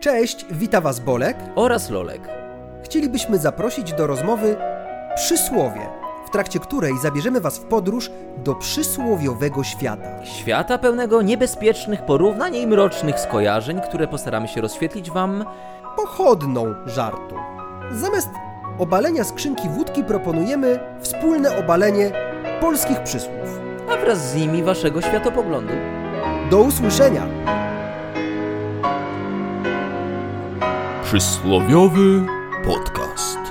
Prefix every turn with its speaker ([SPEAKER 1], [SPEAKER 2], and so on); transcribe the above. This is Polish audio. [SPEAKER 1] Cześć, wita Was Bolek.
[SPEAKER 2] oraz Lolek.
[SPEAKER 1] Chcielibyśmy zaprosić do rozmowy Przysłowie, w trakcie której zabierzemy Was w podróż do przysłowiowego świata.
[SPEAKER 2] Świata pełnego niebezpiecznych porównań i mrocznych skojarzeń, które postaramy się rozświetlić Wam.
[SPEAKER 1] Pochodną żartu. Zamiast obalenia skrzynki wódki proponujemy wspólne obalenie polskich przysłów.
[SPEAKER 2] a wraz z nimi waszego światopoglądu.
[SPEAKER 1] Do usłyszenia!
[SPEAKER 3] Przysłowiowy podcast.